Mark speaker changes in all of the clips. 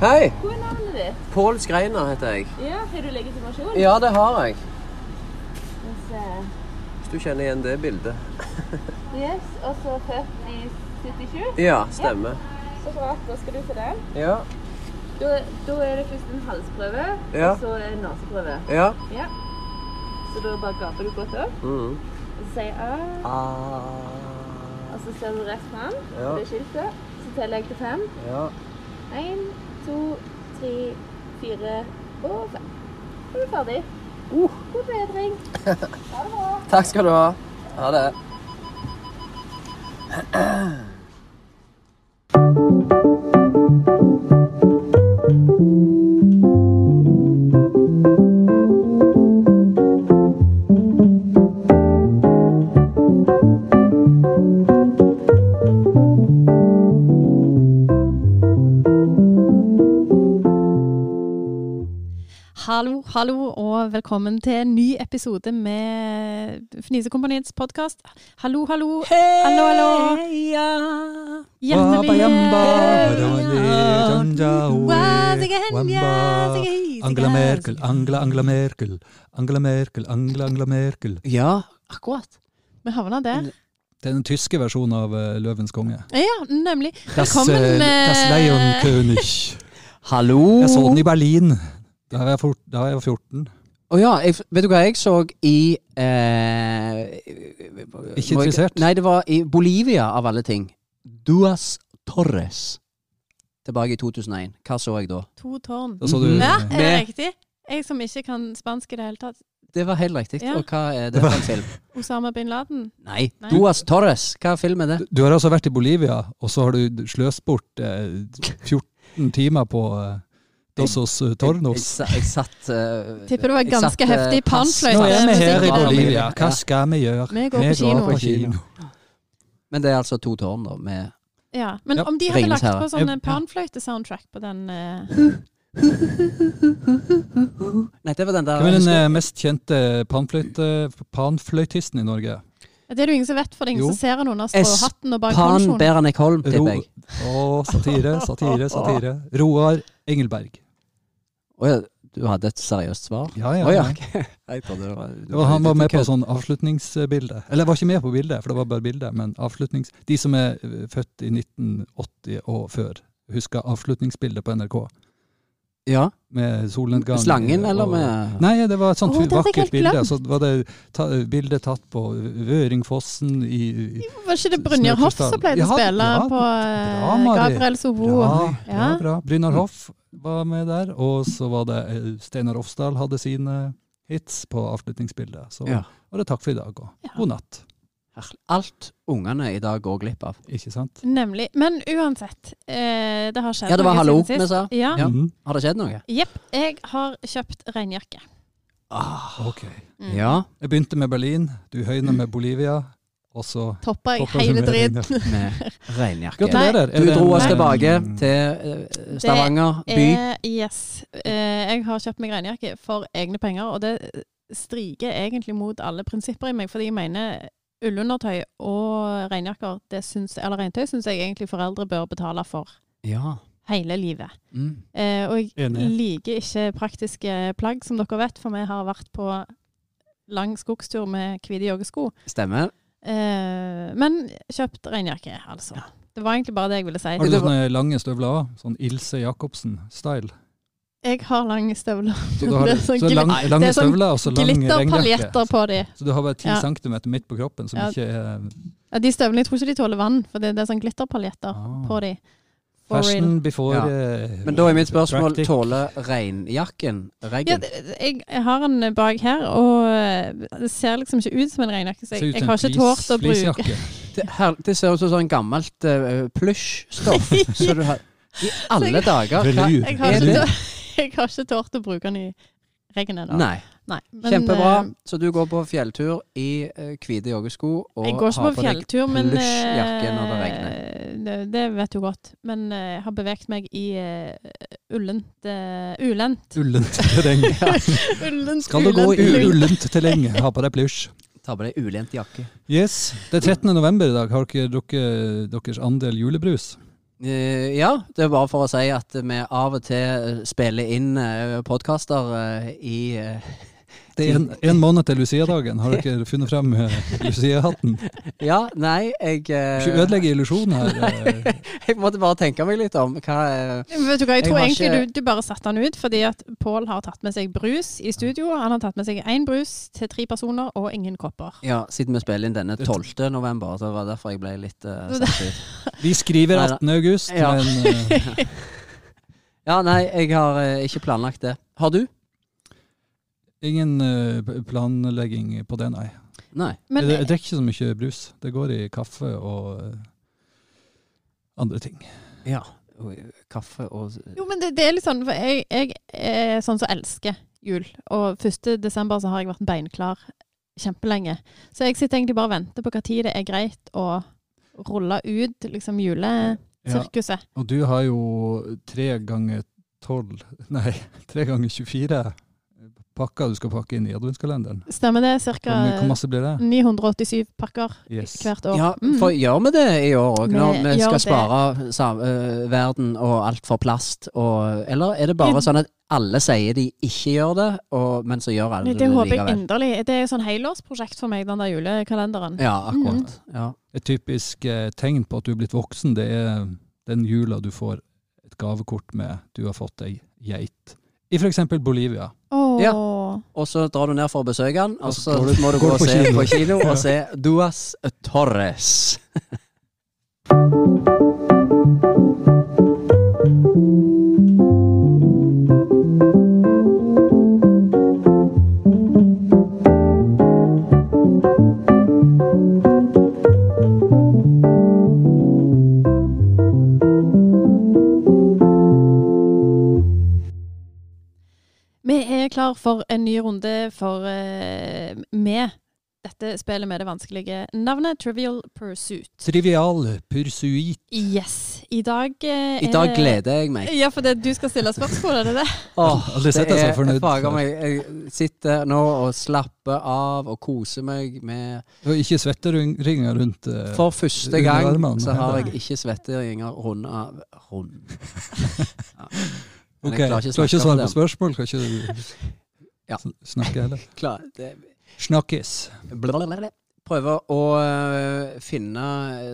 Speaker 1: Hei!
Speaker 2: Hva er navnet ditt?
Speaker 1: Pål Skreiner heter jeg.
Speaker 2: Ja, Har du legitimasjon?
Speaker 1: Ja, det har jeg.
Speaker 2: Skal vi se.
Speaker 1: Hvis du kjenner igjen det bildet.
Speaker 2: Yes, og så født i 77.
Speaker 1: Ja, stemmer.
Speaker 2: Så bra. Da skal du få den.
Speaker 1: Ja.
Speaker 2: Da, da er det først en halsprøve,
Speaker 1: Ja.
Speaker 2: og så en naseprøve.
Speaker 1: Ja.
Speaker 2: Ja. Så da bare gaper du godt opp,
Speaker 1: Mm.
Speaker 2: og så sier jeg
Speaker 1: Ah.
Speaker 2: og så ser du rett fram
Speaker 1: Ja.
Speaker 2: på det skiltet. Så teller jeg til fem.
Speaker 1: Ja.
Speaker 2: Én, to, tre, fire og fem. Så er du ferdig.
Speaker 1: Uh.
Speaker 2: God bedring. Ha det bra.
Speaker 1: Takk skal du ha. Ha det.
Speaker 3: Hallo, hallo, og velkommen til en ny episode med Fnisekompaniets podkast. Hallo, hallo. Hallo, hallo. Hjertelig
Speaker 4: Angela Merkel, Angela, Angela Merkel, Angela Merkel, Angela, Angela Merkel.
Speaker 1: Ja, akkurat.
Speaker 3: Vi havna der.
Speaker 4: Det er den tyske versjonen av eh, Løvens konge.
Speaker 3: Ja, nemlig.
Speaker 4: Das,
Speaker 3: Velkommen,
Speaker 4: eh, das
Speaker 3: eh,
Speaker 4: Leonkönig.
Speaker 1: Hallo!
Speaker 4: Jeg så den i Berlin. Da var jeg, fort, da var jeg 14.
Speaker 1: Å ja, jeg, vet du hva jeg så i eh,
Speaker 4: Ikke
Speaker 1: må jeg-
Speaker 4: interessert.
Speaker 1: Nei, det var i Bolivia, av alle ting. Duas Torres. Tilbake i 2001. Hva så jeg da?
Speaker 3: To tårn.
Speaker 4: Da så du
Speaker 3: Mhm. Ja,
Speaker 4: eh,
Speaker 3: er det
Speaker 1: Med-
Speaker 3: riktig? Jeg som ikke kan spansk i det hele tatt.
Speaker 1: Det var helt riktig.
Speaker 3: Ja.
Speaker 1: Og hva er det
Speaker 4: Det
Speaker 1: for
Speaker 4: var-
Speaker 1: en film?
Speaker 3: Osama bin Laden.
Speaker 1: Nei.
Speaker 3: Nei.
Speaker 1: Duas Torres. Hva film er det?
Speaker 4: du, du har altså vært i Bolivia, og så har du sløst bort eh, 14 timer på eh, Dosos eh,
Speaker 1: Jeg,
Speaker 4: Tornos.
Speaker 1: sa- jeg satt eh,
Speaker 3: Tipper det var
Speaker 1: jeg
Speaker 3: ganske
Speaker 1: satt, eh,
Speaker 3: heftig
Speaker 1: pass-
Speaker 3: panfløyte.
Speaker 4: Nå er vi her i
Speaker 3: Ja,
Speaker 4: Bolivia. Hva
Speaker 1: Ja.
Speaker 4: skal vi gjøre?
Speaker 3: Vi går på kino.
Speaker 1: Men det er altså to tårn, da. Med
Speaker 3: Ja, Men
Speaker 4: Ja,
Speaker 3: om de hadde
Speaker 1: Ringenes
Speaker 3: lagt på
Speaker 1: herre.
Speaker 3: sånn
Speaker 4: Ja.
Speaker 3: panfløytesoundtrack på den eh,
Speaker 1: Nei, det var den der
Speaker 4: Hvem er den eh, mest kjente panfløyte, eh, panfløytisten i Norge?
Speaker 3: Det er det jo ingen som vet, for det er ingen
Speaker 4: Jo.
Speaker 3: som ser han under
Speaker 1: S-
Speaker 3: stråhatten
Speaker 4: eh,
Speaker 3: og bak
Speaker 1: Pan
Speaker 3: pensjonen.
Speaker 1: Beranek Holm, tipper jeg.
Speaker 4: Å, satire, satire, satire. Roar Engelberg.
Speaker 1: Å ja, du hadde et seriøst svar?
Speaker 4: Ja,
Speaker 1: Å
Speaker 4: ja.
Speaker 1: ja.
Speaker 4: ja.
Speaker 1: ok. Jeg trodde det var-
Speaker 4: Det var, han var med på sånn avslutningsbilde. Eller var ikke med på bildet, for det var bare bildet, men avslutnings... De som er eh, født i 1980 og før, husker avslutningsbildet på NRK.
Speaker 1: Ja.
Speaker 4: Med solnedgang.
Speaker 1: Slangen,
Speaker 4: eh,
Speaker 1: eller
Speaker 4: og-
Speaker 1: med
Speaker 4: Nei, det var et sånt
Speaker 3: Å, det hadde jeg
Speaker 4: vakkert
Speaker 3: helt
Speaker 4: bilde.
Speaker 3: glemt.
Speaker 4: Så var det ta, bildet tatt på Vøringfossen i, i
Speaker 3: Var ikke det Brynjar Hoff som pleide å
Speaker 4: Ja,
Speaker 3: spille
Speaker 4: bra,
Speaker 3: på eh,
Speaker 4: bra, Mari.
Speaker 3: Gabriel Soho?
Speaker 4: Bra,
Speaker 3: Ja.
Speaker 4: bra, bra. Brynjar Hoff var med der, og så var det eh, Steinar Rofsdal hadde sine hits på avslutningsbildet. Så
Speaker 1: Ja.
Speaker 4: var det takk for i dag og
Speaker 3: Ja.
Speaker 4: god natt.
Speaker 1: Herlig. Alt ungene i dag går glipp av.
Speaker 4: Ikke sant?
Speaker 3: Nemlig. Men uansett, eh, det har skjedd
Speaker 1: Ja, det var
Speaker 3: noe
Speaker 1: hallo vi
Speaker 3: siden sist.
Speaker 1: sa.
Speaker 3: Ja.
Speaker 1: Ja.
Speaker 4: Mhm.
Speaker 1: Har det skjedd noe?
Speaker 3: Jepp. Jeg har kjøpt regnjakke.
Speaker 4: Ok.
Speaker 3: Mm.
Speaker 1: Ah, Ja.
Speaker 4: Jeg begynte med Berlin, du høyner med Bolivia, og så
Speaker 3: Toppa jeg
Speaker 4: Topper
Speaker 3: hele
Speaker 4: som regn, ja.
Speaker 3: dritten.
Speaker 1: Med regnjakke.
Speaker 4: Gratulerer. Er
Speaker 1: Du
Speaker 4: det
Speaker 1: dro
Speaker 4: en-
Speaker 1: oss tilbake
Speaker 4: Mm.
Speaker 1: til eh, Stavanger by.
Speaker 3: Eh, yes. Eh, jeg har kjøpt meg regnjakke for egne penger, og det striker egentlig mot alle prinsipper i meg, fordi jeg mener ullundertøy og regnjakker, det syns, eller regntøy, syns jeg egentlig foreldre bør betale for
Speaker 1: Ja.
Speaker 3: hele livet.
Speaker 1: Mm.
Speaker 3: Eh, og jeg
Speaker 4: Enig.
Speaker 3: liker ikke praktiske plagg, som dere vet, for vi har vært på lang skogstur med hvite joggesko.
Speaker 1: Stemmer.
Speaker 3: Eh, men kjøpt regnjakke, altså. Det var egentlig bare det jeg ville si.
Speaker 4: Har du sånne lange støvler òg? Sånn Ilse Jacobsen-style? sånn-
Speaker 3: Jeg har lange støvler.
Speaker 4: Så du har
Speaker 3: Det er sånn
Speaker 4: så lang,
Speaker 3: glit- det
Speaker 4: lange
Speaker 3: er sånn
Speaker 4: støvler og så lang regnjakke.
Speaker 3: Glitterpaljetter på de.
Speaker 4: Så du har bare ti
Speaker 3: Ja.
Speaker 4: centimeter midt på kroppen som
Speaker 3: Ja.
Speaker 4: ikke er
Speaker 3: Ja, de støvlene, jeg tror ikke de tåler vann, for det, det er sånn glitterpaljetter
Speaker 4: Ah.
Speaker 3: på de. For real.
Speaker 4: Fashion before
Speaker 1: Ja.
Speaker 4: eh,
Speaker 1: Men da er mitt spørsmål
Speaker 4: practic.
Speaker 1: tåler regnjakken
Speaker 3: Ja,
Speaker 1: regn?
Speaker 3: det- jeg, jeg har en bak her, og det ser liksom ikke ut som en regnjakke. Så
Speaker 4: Ser
Speaker 3: jeg,
Speaker 4: ut
Speaker 3: jeg
Speaker 4: som
Speaker 3: har
Speaker 4: en
Speaker 3: ikke
Speaker 4: flis-
Speaker 3: tålt å bruke
Speaker 4: flisjakke.
Speaker 1: Det, her, det ser ut som sånn gammelt uh, plysjstoff. Så du har- I alle dager!
Speaker 4: Velur.
Speaker 3: Jeg har,
Speaker 1: Er
Speaker 3: ikke,
Speaker 1: det-
Speaker 3: tå- jeg har ikke tort å bruke den i regnet ennå.
Speaker 1: Nei.
Speaker 3: Nei, men,
Speaker 1: Kjempebra.
Speaker 3: eh,
Speaker 1: Så du går på fjelltur i eh, hvite joggesko og
Speaker 3: jeg går ikke
Speaker 1: har
Speaker 3: på fjelltur,
Speaker 1: deg
Speaker 3: men
Speaker 1: plysjjakke når det regner.
Speaker 3: eh, det, det vet du godt. Men eh, jeg har beveget meg i eh, ullent eh, Ulent.
Speaker 4: Ullent terreng.
Speaker 3: ullent
Speaker 4: Skal du gå i
Speaker 3: ulent.
Speaker 4: ullent terreng, ha på deg plysj.
Speaker 1: Ta på deg ulent jakke.
Speaker 4: Yes. Det er 13. november i dag. Har dere drukket deres andel julebrus?
Speaker 1: Eh, ja, det er bare for å si at vi av og til eh, spiller inn uh, podkaster eh, i eh,
Speaker 4: Det er en, en måned til Lucia-dagen. Har dere funnet frem eh, Lucia-hatten?
Speaker 1: Eh. Ja, nei, jeg eh,
Speaker 4: Ikke ødelegge illusjonen her. eh.
Speaker 1: Jeg måtte bare tenke meg litt om. Hva eh,
Speaker 3: Vet du hva, jeg
Speaker 1: Jeg
Speaker 3: tror
Speaker 1: har
Speaker 3: egentlig
Speaker 1: ikke-
Speaker 3: du, du bare satte han ut, fordi at Pål har tatt med seg brus i studio. Han har tatt med seg én brus til tre personer og ingen kopper.
Speaker 1: Ja, siden vi spiller inn denne
Speaker 4: Det-
Speaker 1: 12. november, så var det derfor jeg ble litt eh,
Speaker 3: Det-
Speaker 1: satt ut.
Speaker 4: Vi skriver 18. august,
Speaker 1: Ja.
Speaker 4: men eh,
Speaker 1: Ja, nei, jeg har eh, ikke planlagt det. Har du?
Speaker 4: ingen eh, p- planlegging på det, nei.
Speaker 1: Nei.
Speaker 3: Men
Speaker 4: jeg, jeg drikker ikke så mye brus. Det går i kaffe og eh, andre ting.
Speaker 1: Ja. Oi, Kaffe og
Speaker 3: Jo, men det, det er litt sånn, for jeg, jeg er sånn som elsker jul. Og 1. desember så har jeg vært beinklar kjempelenge. Så jeg sitter egentlig bare og venter på hva tid det er greit å rulle ut liksom
Speaker 4: Ja,
Speaker 3: julesirkuset.
Speaker 4: og du har jo tre ganger tolv, nei, tre ganger 24 pakker du skal pakke inn i adventskalenderen.
Speaker 3: Stemmer det? Ca.
Speaker 4: Hvor mye- hvor masse blir det?
Speaker 3: 987 pakker
Speaker 4: Yes.
Speaker 3: Mm, hvert år.
Speaker 1: Ja,
Speaker 3: Mm.
Speaker 1: for gjør vi det i år òg, når
Speaker 3: Vi
Speaker 1: vi skal
Speaker 3: gjør det.
Speaker 1: spare sam- eh, verden og alt for plast og Eller er det bare
Speaker 3: Jeg-
Speaker 1: sånn at alle sier de ikke gjør det, og, men så gjør alle
Speaker 3: Nei,
Speaker 1: det,
Speaker 3: det håper jeg
Speaker 1: likevel?
Speaker 3: inderlig. Det er jo sånn helårsprosjekt for meg, den der julekalenderen.
Speaker 1: Ja,
Speaker 3: Mm.
Speaker 1: akkurat. Ja.
Speaker 4: Et typisk eh, tegn på at du er blitt voksen, det er den jula du får et gavekort med du har fått ei geit. I f.eks. Bolivia.
Speaker 3: Åh.
Speaker 1: Ja. Og så drar du ned for å besøke han, og
Speaker 4: Og
Speaker 1: så
Speaker 4: så går du-
Speaker 1: må du gå
Speaker 4: går du
Speaker 1: og
Speaker 4: på
Speaker 1: se
Speaker 4: kino.
Speaker 1: på kino og se Duas Torres.
Speaker 3: Vi er klar for en ny runde for eh, med dette spillet med det vanskelige navnet Trivial Pursuit.
Speaker 4: Trivial pursuit.
Speaker 3: Yes. I dag eh,
Speaker 1: I dag
Speaker 3: er-
Speaker 1: gleder jeg meg.
Speaker 3: Ja, for det, du skal stille spørsmål, er det det?
Speaker 1: Åh,
Speaker 4: Aldri sett deg så fornøyd
Speaker 1: fager
Speaker 4: før.
Speaker 1: meg. Jeg sitter nå og slapper av og koser meg med
Speaker 4: Og ikke svetteringer rundt eh,
Speaker 1: For første
Speaker 4: Under
Speaker 1: gang
Speaker 4: armene,
Speaker 1: så har
Speaker 3: heller.
Speaker 1: jeg ikke svetteringer runde av Rund.
Speaker 4: Ok,
Speaker 1: Men jeg klarer ikke å
Speaker 4: Du har
Speaker 1: snakke om
Speaker 4: ikke svar på
Speaker 1: det.
Speaker 4: spørsmål, kan ikke du
Speaker 1: Ja.
Speaker 4: sn- snakke heller?
Speaker 1: Klar, det,
Speaker 4: Snakkes.
Speaker 1: blablabla. Prøver å øh, finne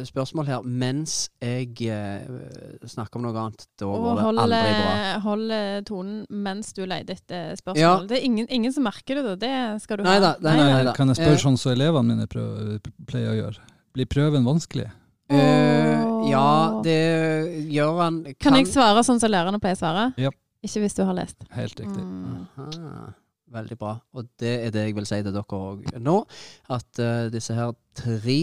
Speaker 1: spørsmål her mens jeg øh, snakker om noe annet. Da
Speaker 3: Og
Speaker 1: går det
Speaker 3: hold,
Speaker 1: aldri bra.
Speaker 3: eh, hold eh, tonen mens du leter etter spørsmål.
Speaker 1: Ja.
Speaker 3: Det er ingen, ingen som merker det, da. Det skal du
Speaker 1: Nei
Speaker 3: ha.
Speaker 1: da, nei, nei, nei da.
Speaker 4: Kan jeg
Speaker 1: Eh,
Speaker 4: spørre sånn som elevene mine prøv, pleier å gjøre? Blir prøven vanskelig?
Speaker 1: eh, ja,
Speaker 3: Åh.
Speaker 1: det gjør han.
Speaker 3: Kan jeg svare sånn som lærerne pleier å svare?
Speaker 4: Ja.
Speaker 3: Ikke hvis du har lest.
Speaker 4: Helt riktig.
Speaker 3: Mm.
Speaker 1: Aha, veldig bra. Og det er det jeg vil si til dere òg nå. At eh, disse her tre Vi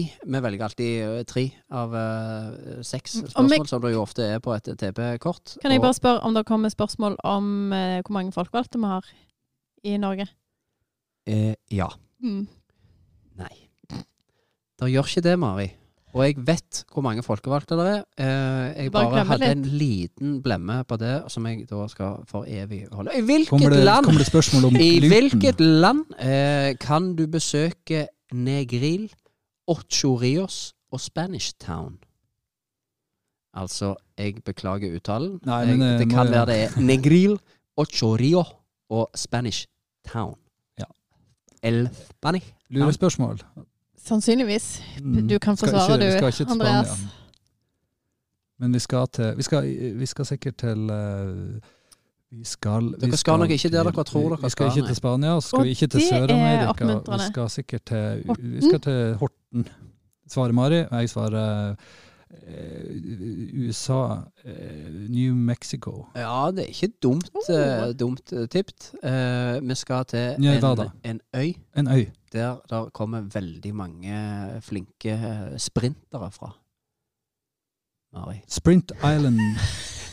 Speaker 1: velger alltid eh, tre av eh, seks
Speaker 3: Mm, om jeg-
Speaker 1: spørsmål, som det jo ofte er på et TP-kort.
Speaker 3: Kan jeg
Speaker 1: Og-
Speaker 3: bare spørre om det kommer spørsmål om eh, hvor mange folkevalgte vi har i Norge?
Speaker 1: eh, Ja.
Speaker 3: Mm.
Speaker 1: Nei. Det gjør ikke det, Mari. Og jeg vet hvor mange folkevalgte det er. Eh, jeg
Speaker 3: Bare
Speaker 1: bare,
Speaker 3: glemme
Speaker 1: hadde en liten blemme på det, som jeg da skal for evig holde. I
Speaker 4: Kommer
Speaker 1: hvilket
Speaker 4: det,
Speaker 1: land
Speaker 4: kommer det spørsmål om
Speaker 1: I
Speaker 4: gluten?
Speaker 1: hvilket land eh, kan du besøke Negril, Ocho Rios og Spanish Town? Altså, jeg beklager uttalen.
Speaker 4: Nei,
Speaker 1: jeg,
Speaker 4: men, eh,
Speaker 1: det
Speaker 4: må
Speaker 1: kan
Speaker 4: jeg-
Speaker 1: være det er Negril, Ocho Rio og Spanish Town.
Speaker 4: Ja.
Speaker 1: El Spanish.
Speaker 4: Lurespørsmål?
Speaker 3: Sannsynligvis.
Speaker 4: Mm.
Speaker 3: Du kan
Speaker 4: Skal
Speaker 3: forsvare,
Speaker 4: ikke-
Speaker 3: du,
Speaker 4: skal ikke til
Speaker 3: Andreas.
Speaker 4: Spania. Men vi skal til Vi skal, vi skal sikkert til eh, vi skal, vi
Speaker 1: Dere skal nok ikke der dere tror dere
Speaker 4: Vi skal
Speaker 1: skal,
Speaker 4: ikke
Speaker 1: nei.
Speaker 4: til Spania, og så skal
Speaker 3: Og
Speaker 4: vi ikke til
Speaker 3: det er
Speaker 4: Sør-Amerika. Vi
Speaker 3: oppmuntrende.
Speaker 4: skal sikkert til
Speaker 3: Horten?
Speaker 4: Vi skal til Horten. Svarer Mari. Jeg svarer eh, USA, eh, New Mexico.
Speaker 1: Ja, det er ikke dumt, eh, dumt eh, tippet. Eh, vi skal til en,
Speaker 4: Nevada.
Speaker 1: en øy
Speaker 4: En øy.
Speaker 1: der der kommer veldig mange flinke eh, sprintere fra. Mari.
Speaker 4: Sprint Island.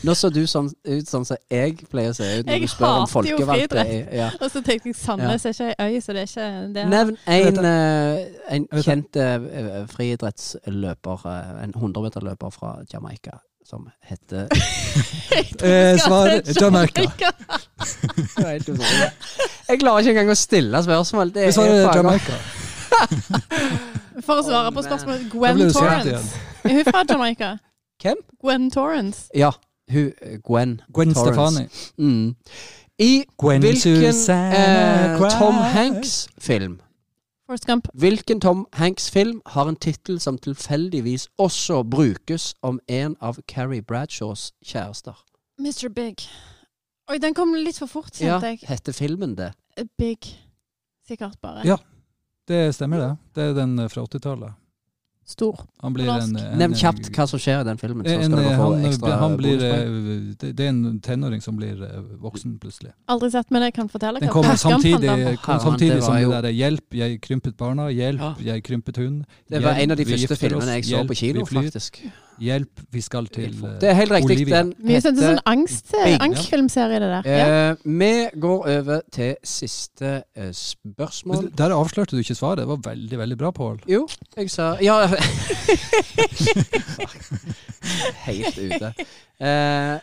Speaker 1: Nå så du sånn ut sånn som jeg pleier å se ut når
Speaker 3: Jeg
Speaker 1: du spør om
Speaker 3: hater jo
Speaker 1: folkevalgte.
Speaker 3: friidrett.
Speaker 1: Ja.
Speaker 3: Og så tenkte jeg Sandnes er ikke ei øy, så det er ikke det er-
Speaker 1: Nevn
Speaker 4: Jeg vet
Speaker 1: en,
Speaker 4: det.
Speaker 1: eh, en
Speaker 4: vet det.
Speaker 1: kjent eh, friidrettsløper, eh, en 100-meterløper fra Jamaica, som heter
Speaker 4: Eh, svar Jamaica.
Speaker 1: Jeg klarer ikke engang å stille spørsmål. Det
Speaker 4: Vi
Speaker 1: er
Speaker 4: svarer
Speaker 1: faen-
Speaker 4: Jamaica.
Speaker 3: For å svare
Speaker 1: Å,
Speaker 3: på
Speaker 1: man.
Speaker 3: spørsmålet
Speaker 4: Da
Speaker 3: Gwen
Speaker 4: ble du sint
Speaker 3: Torrance.
Speaker 4: igjen.
Speaker 3: Er hun fra Jamaica?
Speaker 1: Hvem?
Speaker 3: Gwen Torrance.
Speaker 1: Ja, hun eh, Gwen.
Speaker 4: Gwen
Speaker 1: Torrance.
Speaker 4: Stefani.
Speaker 1: Mm. I
Speaker 4: Gwen
Speaker 1: hvilken
Speaker 4: Susanna
Speaker 1: eh, Tom
Speaker 4: Grimes.
Speaker 1: Hanks-film
Speaker 3: Forrest Gump.
Speaker 1: Hvilken Tom Hanks-film har en tittel som tilfeldigvis også brukes om en av Carrie Bradshaws kjærester?
Speaker 3: Mr. Big. Oi, den kom litt for fort,
Speaker 1: Ja,
Speaker 3: kjente jeg.
Speaker 1: heter filmen det?
Speaker 3: A Big. Sikkert bare.
Speaker 4: Ja. Det stemmer, det. Det er den eh, fra 80-tallet.
Speaker 3: Stor.
Speaker 4: Han blir en, en eh,
Speaker 1: Nevn kjapt hva som skjer i den filmen, så
Speaker 4: En, eh,
Speaker 1: skal dere få
Speaker 4: han,
Speaker 1: ekstra
Speaker 4: han blir,
Speaker 1: bonuspoeng.
Speaker 4: eh, det, det er en tenåring som blir eh, voksen plutselig.
Speaker 3: Aldri sett, men jeg kan fortelle
Speaker 4: Den
Speaker 3: hva
Speaker 4: kommer
Speaker 3: Forrest Gump handler om.
Speaker 4: samtidig,
Speaker 1: Herman,
Speaker 4: kom samtidig
Speaker 1: det
Speaker 4: som
Speaker 1: var
Speaker 4: det
Speaker 1: jo-
Speaker 4: derre 'Hjelp, jeg krympet barna', 'Hjelp,
Speaker 1: Ja.
Speaker 4: jeg krympet hund'.
Speaker 1: Det var
Speaker 4: eh, hjelp,
Speaker 1: en av de
Speaker 4: vi
Speaker 1: første
Speaker 4: gifter oss,
Speaker 1: filmene jeg så
Speaker 4: hjelp,
Speaker 1: på kino,
Speaker 4: vi flyr,
Speaker 1: faktisk.
Speaker 4: Hjelp, vi skal til eh,
Speaker 1: Det er helt riktig.
Speaker 4: Olivia.
Speaker 1: Den
Speaker 3: Mye sånn,
Speaker 1: heter
Speaker 3: sånn angst,
Speaker 1: Big.
Speaker 3: angstfilmserie, det der. Ja.
Speaker 1: Eh, vi går over til siste eh, spørsmål.
Speaker 4: Men Der avslørte du ikke svaret. Det var veldig, veldig bra, Pål.
Speaker 1: Jo, jeg sa Ja. Helt ute. Eh,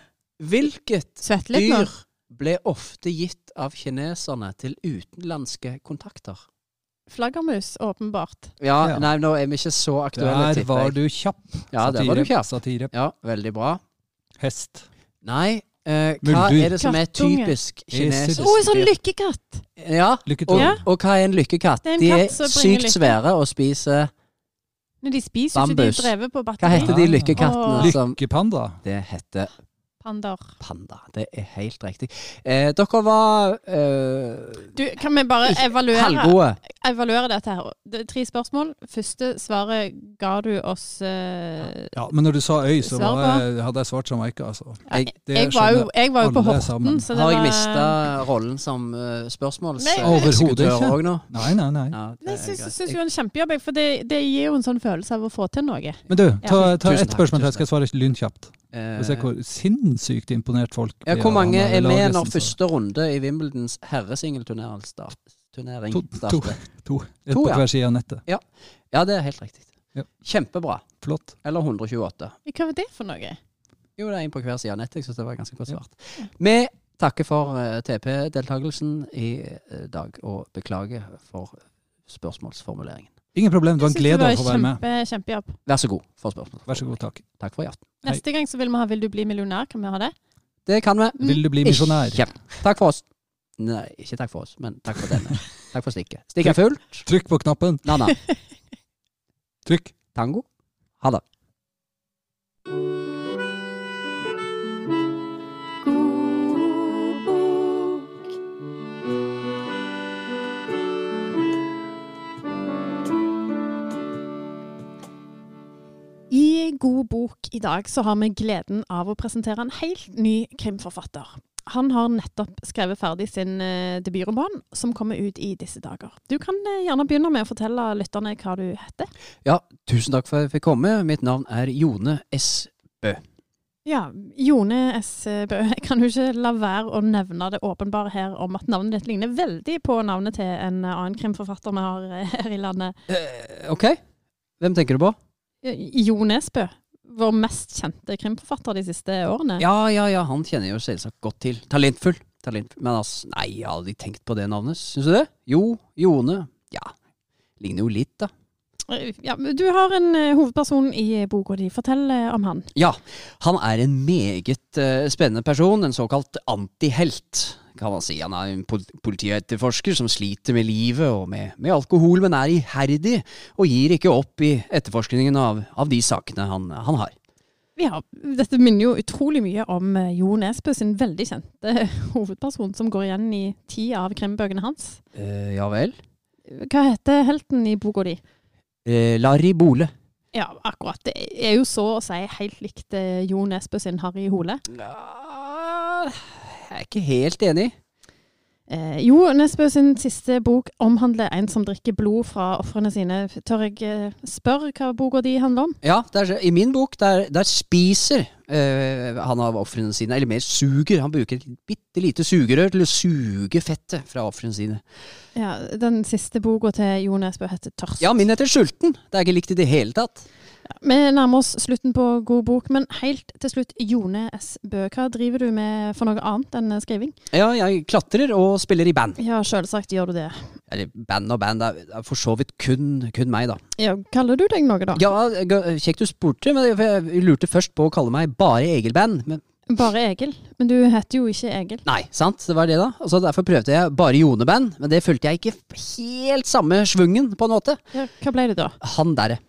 Speaker 1: hvilket
Speaker 3: Svett litt nå.
Speaker 1: dyr ble ofte gitt av kineserne til utenlandske kontakter?
Speaker 3: Flaggermus, åpenbart.
Speaker 1: Ja,
Speaker 4: Ja.
Speaker 1: nei, nå er vi ikke så aktuelle,
Speaker 4: Der
Speaker 1: tipper
Speaker 4: var
Speaker 1: jeg.
Speaker 4: du kjapp.
Speaker 1: Ja, der var du kjapp.
Speaker 4: Satire.
Speaker 1: Ja, veldig bra.
Speaker 4: Hest.
Speaker 1: Nei, eh, hva
Speaker 4: Muldyr.
Speaker 1: er det som er
Speaker 3: Kattunge.
Speaker 1: typisk
Speaker 4: Esel.
Speaker 1: kinesisk
Speaker 3: Å, en sånn
Speaker 1: dyr?
Speaker 3: lykkekatt!
Speaker 1: Ja,
Speaker 4: Lykke
Speaker 1: og,
Speaker 4: til.
Speaker 3: Ja.
Speaker 1: og hva er en lykkekatt?
Speaker 3: Det er en
Speaker 1: De er
Speaker 3: katt som bringer
Speaker 1: sykt
Speaker 3: lykke.
Speaker 1: svære og spiser
Speaker 3: Nei, de spiser jo ikke, de
Speaker 1: Bambus.
Speaker 3: er drevet på
Speaker 1: Hva
Speaker 3: batteri.
Speaker 1: heter de
Speaker 4: Ah.
Speaker 1: lykkekattene
Speaker 3: Åh.
Speaker 1: som
Speaker 4: Lykkepanda.
Speaker 1: Det heter
Speaker 3: Pandaer.
Speaker 1: panda. Det er helt riktig. Eh, dere var eh,
Speaker 3: Du, kan vi bare
Speaker 1: Ikke-
Speaker 3: evaluere,
Speaker 1: halvgode.
Speaker 3: evaluere dette her? Det er tre spørsmål. Første svaret ga du oss eh,
Speaker 4: Ja, men når du sa øy, så
Speaker 3: Svar
Speaker 4: var jeg, hadde jeg svart Jamaica, altså.
Speaker 1: Jeg-
Speaker 3: jeg, jeg, var jo, jeg var jo på
Speaker 4: alle
Speaker 3: Horten,
Speaker 4: sammen.
Speaker 3: så det
Speaker 1: Har jeg
Speaker 3: var
Speaker 1: mista rollen som uh,
Speaker 3: Nei.
Speaker 4: Overhodet
Speaker 1: spørsmålsekretør
Speaker 4: ikke.
Speaker 1: òg nå?
Speaker 4: Nei, nei, nei.
Speaker 1: Ja, det
Speaker 3: Nei,
Speaker 1: er
Speaker 3: Jeg syns-
Speaker 1: greit.
Speaker 3: syns jo en kjempejobb, jeg, for det, det gir jo en sånn følelse av å få til noe.
Speaker 4: Men du, ta, ta
Speaker 1: Tusen takk,
Speaker 4: ett spørsmål til,
Speaker 1: tusen
Speaker 4: jeg skal svare lynkjapt.
Speaker 1: Eh,
Speaker 4: Og se hvor sinnssykt imponert folk
Speaker 1: ja,
Speaker 4: blir
Speaker 1: hvor
Speaker 4: av
Speaker 1: mange
Speaker 4: han der
Speaker 1: er med
Speaker 4: Lagersen,
Speaker 1: når
Speaker 4: så-
Speaker 1: første runde i Wimbledons herresingelturnering start- turnering
Speaker 4: To- to.
Speaker 1: starter?
Speaker 4: Et
Speaker 1: To,
Speaker 4: på
Speaker 1: ja.
Speaker 4: hver side av nettet.
Speaker 1: Ja, det er helt riktig.
Speaker 4: Ja.
Speaker 1: Kjempebra.
Speaker 4: Flott.
Speaker 1: Eller 128.
Speaker 3: Hva var det for noe?
Speaker 1: Jo, det er en på hver side av nettet. Jeg syns det var ganske godt
Speaker 4: Ja.
Speaker 1: svart. Vi takker for eh, TP-deltakelsen i eh, dag, og beklager for spørsmålsformuleringen.
Speaker 4: Ingen problem, det var
Speaker 3: Jeg
Speaker 4: en
Speaker 3: synes
Speaker 4: glede å
Speaker 3: var
Speaker 4: få være med.
Speaker 3: kjempe, kjempejobb.
Speaker 1: Vær så god for spørsmålet.
Speaker 4: Vær så god, takk.
Speaker 1: Takk for i aften.
Speaker 4: Hei.
Speaker 3: Neste gang så vil vi ha 'Vil du bli millionær'? Kan vi ha det?
Speaker 1: Det kan vi.
Speaker 4: Vil du bli misjonær?
Speaker 1: Ikke. Takk for oss. Nei, ikke takk for oss, men takk for denne. Takk for stikket. Stikket er fullt.
Speaker 4: Trykk på knappen.
Speaker 1: Nanna.
Speaker 4: Trykk.
Speaker 1: Tango. Ha det.
Speaker 2: God bok.
Speaker 3: I God bok i dag så har vi gleden av å presentere en helt ny krimforfatter. Han har nettopp skrevet ferdig sin eh, debutroman, som kommer ut i disse dager. Du kan eh, gjerne begynne med å fortelle lytterne hva du heter.
Speaker 1: Tusen takk for at jeg fikk komme. Mitt navn er Jone S.
Speaker 3: Ja, Jone S. Bø. Jeg kan jo ikke la være å nevne det åpenbare her om at navnet ditt ligner veldig på navnet til en eh, annen krimforfatter vi har eh, her i landet.
Speaker 1: Eh, OK. Hvem tenker du på?
Speaker 3: Eh, Jo Nesbø, vår mest kjente krimforfatter de siste årene.
Speaker 1: Ja, ja, ja. Han kjenner jo selvsagt godt til. Talentfull. Talentfull. Men altså, nei, jeg har aldri tenkt på det navnet. Syns du det? Jo, Jone. Ja. Ligner jo litt, da.
Speaker 3: Eh, Ja, men du har en eh, hovedperson i boka di. Fortell eh, om han.
Speaker 1: Ja, han er en meget eh, spennende person, en såkalt antihelt, kan man si. Han er en pol- politietterforsker som sliter med livet og med, med alkohol, men er iherdig og gir ikke opp i etterforskningen av, av de sakene han, han har.
Speaker 3: Ja, dette minner jo utrolig mye om eh, Jo Nesbø sin veldig kjente eh, hovedperson, som går igjen i ti av krimbøkene hans.
Speaker 1: Eh, ja vel.
Speaker 3: Hva heter helten i boka di?
Speaker 1: Eh, Larry Bole.
Speaker 3: Ja, akkurat. Det er jo så å si helt likt eh, Jo Nesbø sin Harry Hole.
Speaker 1: Nja, Jeg er ikke helt enig.
Speaker 3: Eh, jo Nesbø sin siste bok omhandler en som drikker blod fra ofrene sine. Tør jeg eh, spørre hva boka di handler om?
Speaker 1: Ja, der, I min bok der, der spiser eh, han av ofrene sine, eller mer suger. Han bruker et bitte lite sugerør til å suge fettet fra ofrene sine.
Speaker 3: Ja, Den siste boka til Jo Nesbø heter Tørst.
Speaker 1: Ja, min heter Sulten. Det er ikke likt i det hele tatt.
Speaker 3: Vi nærmer oss slutten på God bok, men helt til slutt, Jone S. Bø, hva driver du med for noe annet enn eh, skriving?
Speaker 1: Ja, jeg klatrer og spiller i band.
Speaker 3: Ja, selvsagt gjør du det.
Speaker 1: Eller band og band, det er- det er for så vidt kun, kun meg, da.
Speaker 3: Ja, kaller du deg noe, da?
Speaker 1: Ja, g- kjekt du spurte, men jeg- jeg lurte først på å kalle meg bare Egil Band. Men
Speaker 3: Bare Egil. Men du heter jo ikke Egil.
Speaker 1: nei, sant, det var det, da. Og så Derfor prøvde jeg bare Jone Band, men det fulgte jeg ikke helt samme svungen, på en måte.
Speaker 3: Ja, hva ble det da?
Speaker 1: Han derre.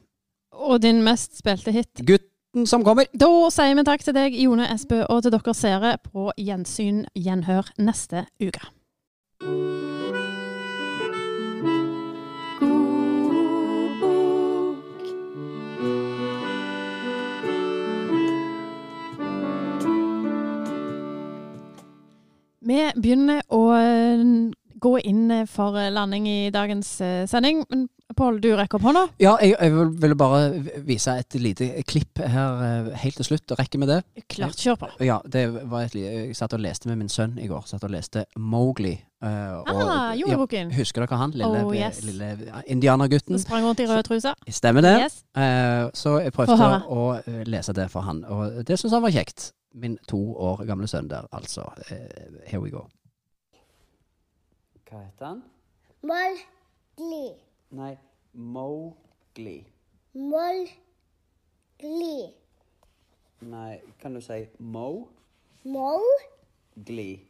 Speaker 3: Og din mest spilte hit?
Speaker 1: Gutten som kommer.
Speaker 3: Da sier vi takk til deg, Jone Esbø, og til dere seere på gjensyn, gjenhør, neste uke. Vi begynner å eh, gå inn for landing i dagens eh, sending. Men Pål, du rekker opp hånda.
Speaker 1: Ja, jeg, jeg vil- ville bare vise et lite klipp her eh, helt til slutt. Rekker vi det?
Speaker 3: Klart, kjør på.
Speaker 1: Ja, det var et, li- jeg satt og leste med min sønn i går. Satt og leste Mowgli. eh, og-
Speaker 3: Ah,
Speaker 1: ja,
Speaker 3: Joneboken.
Speaker 1: Husker dere han? Lille,
Speaker 3: Oh, yes.
Speaker 1: lille indianergutten.
Speaker 3: Sprang rundt i røde truser.
Speaker 1: Stemmer det.
Speaker 3: Yes.
Speaker 1: Eh, så jeg prøvde
Speaker 3: Få høre.
Speaker 1: å eh, lese det for han, og det syns han var kjekt. Min to år gamle sønn der, altså. Eh, here we go. Hva heter han?
Speaker 5: Molgli,
Speaker 1: Nei, Mowgli.
Speaker 5: molgli,
Speaker 1: Nei, kan du si Mowgli?
Speaker 5: molgli,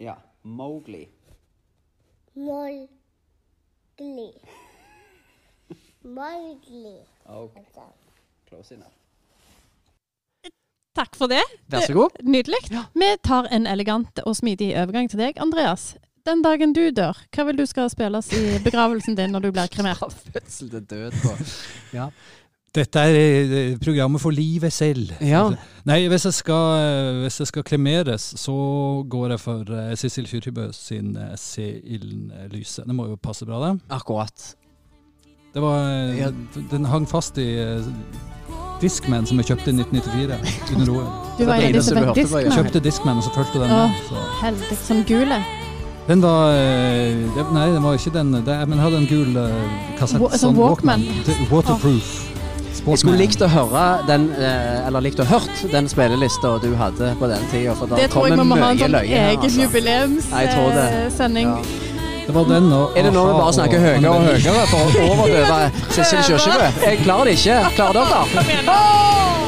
Speaker 1: Ja, Mowgli.
Speaker 5: molgli, molgli.
Speaker 1: Ok, close enough.
Speaker 3: Takk for det.
Speaker 1: Vær så god.
Speaker 3: Nydelig. Vi tar en elegant og smidig overgang til deg, Andreas. Den dagen du dør, hva vil du skal spilles i begravelsen din når du blir kremert?
Speaker 1: Fra fødsel til død. Og, ja.
Speaker 4: Dette er eh, programmet for livet selv.
Speaker 1: ja.
Speaker 4: Nei, hvis jeg, skal, eh, hvis jeg skal kremeres, så går jeg for eh, Sissel Kyrkjebø sin eh, Se ilden lyse. Det må jo passe bra, det.
Speaker 1: Akkurat.
Speaker 4: Det var, eh,
Speaker 1: Ja.
Speaker 4: Den hang fast i eh, Discman som jeg kjøpte i 1994 under OL.
Speaker 3: Du
Speaker 1: Det
Speaker 3: var en av de
Speaker 1: eneste
Speaker 3: som
Speaker 1: vi
Speaker 3: fikk
Speaker 1: hørte var-
Speaker 4: Jeg
Speaker 3: diskmann.
Speaker 4: kjøpte Discman, og så fulgte den
Speaker 3: Åh.
Speaker 4: med. Så.
Speaker 3: Heldig som gule.
Speaker 4: Den var eh, det, Nei, den var ikke den, det, men jeg hadde en gul eh, kassett.
Speaker 3: Wa- sånn Walkman.
Speaker 4: Det- Waterproof.
Speaker 1: Jeg skulle
Speaker 4: Sportman.
Speaker 1: likt å høre den, eh, eller likt å hørt den spillelista du hadde på den tida, for da
Speaker 3: Det tror jeg vi
Speaker 1: kommer
Speaker 3: må ha en
Speaker 1: mye
Speaker 3: sånn
Speaker 1: løye her.
Speaker 3: egen eh,
Speaker 1: altså. Nei, jeg tror det.
Speaker 3: jubileumssending.
Speaker 1: Ja.
Speaker 4: Det var den og
Speaker 1: Er det nå vi
Speaker 4: A-ha
Speaker 1: bare snakker
Speaker 4: og
Speaker 1: høyere og
Speaker 4: Anne Marie.
Speaker 1: høyere for å overdøve Sissel Kyrkjebø? Jeg klarer det ikke. Klarer dere?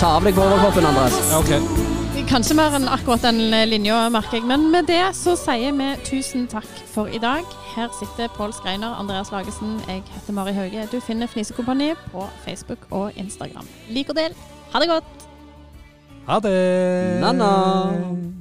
Speaker 1: Ta av deg overkroppen, Andres.
Speaker 4: Ja, ok.
Speaker 3: Kanskje mer enn akkurat den eh, linja, merker jeg. Men med det så sier vi tusen takk for i dag. Her sitter Pål Skreiner, Andreas Lagesen, jeg heter Mari Hauge. Du finner Fnisekompaniet på Facebook og Instagram. Lik og del. Ha det godt!
Speaker 4: Ha det!
Speaker 1: Na-na.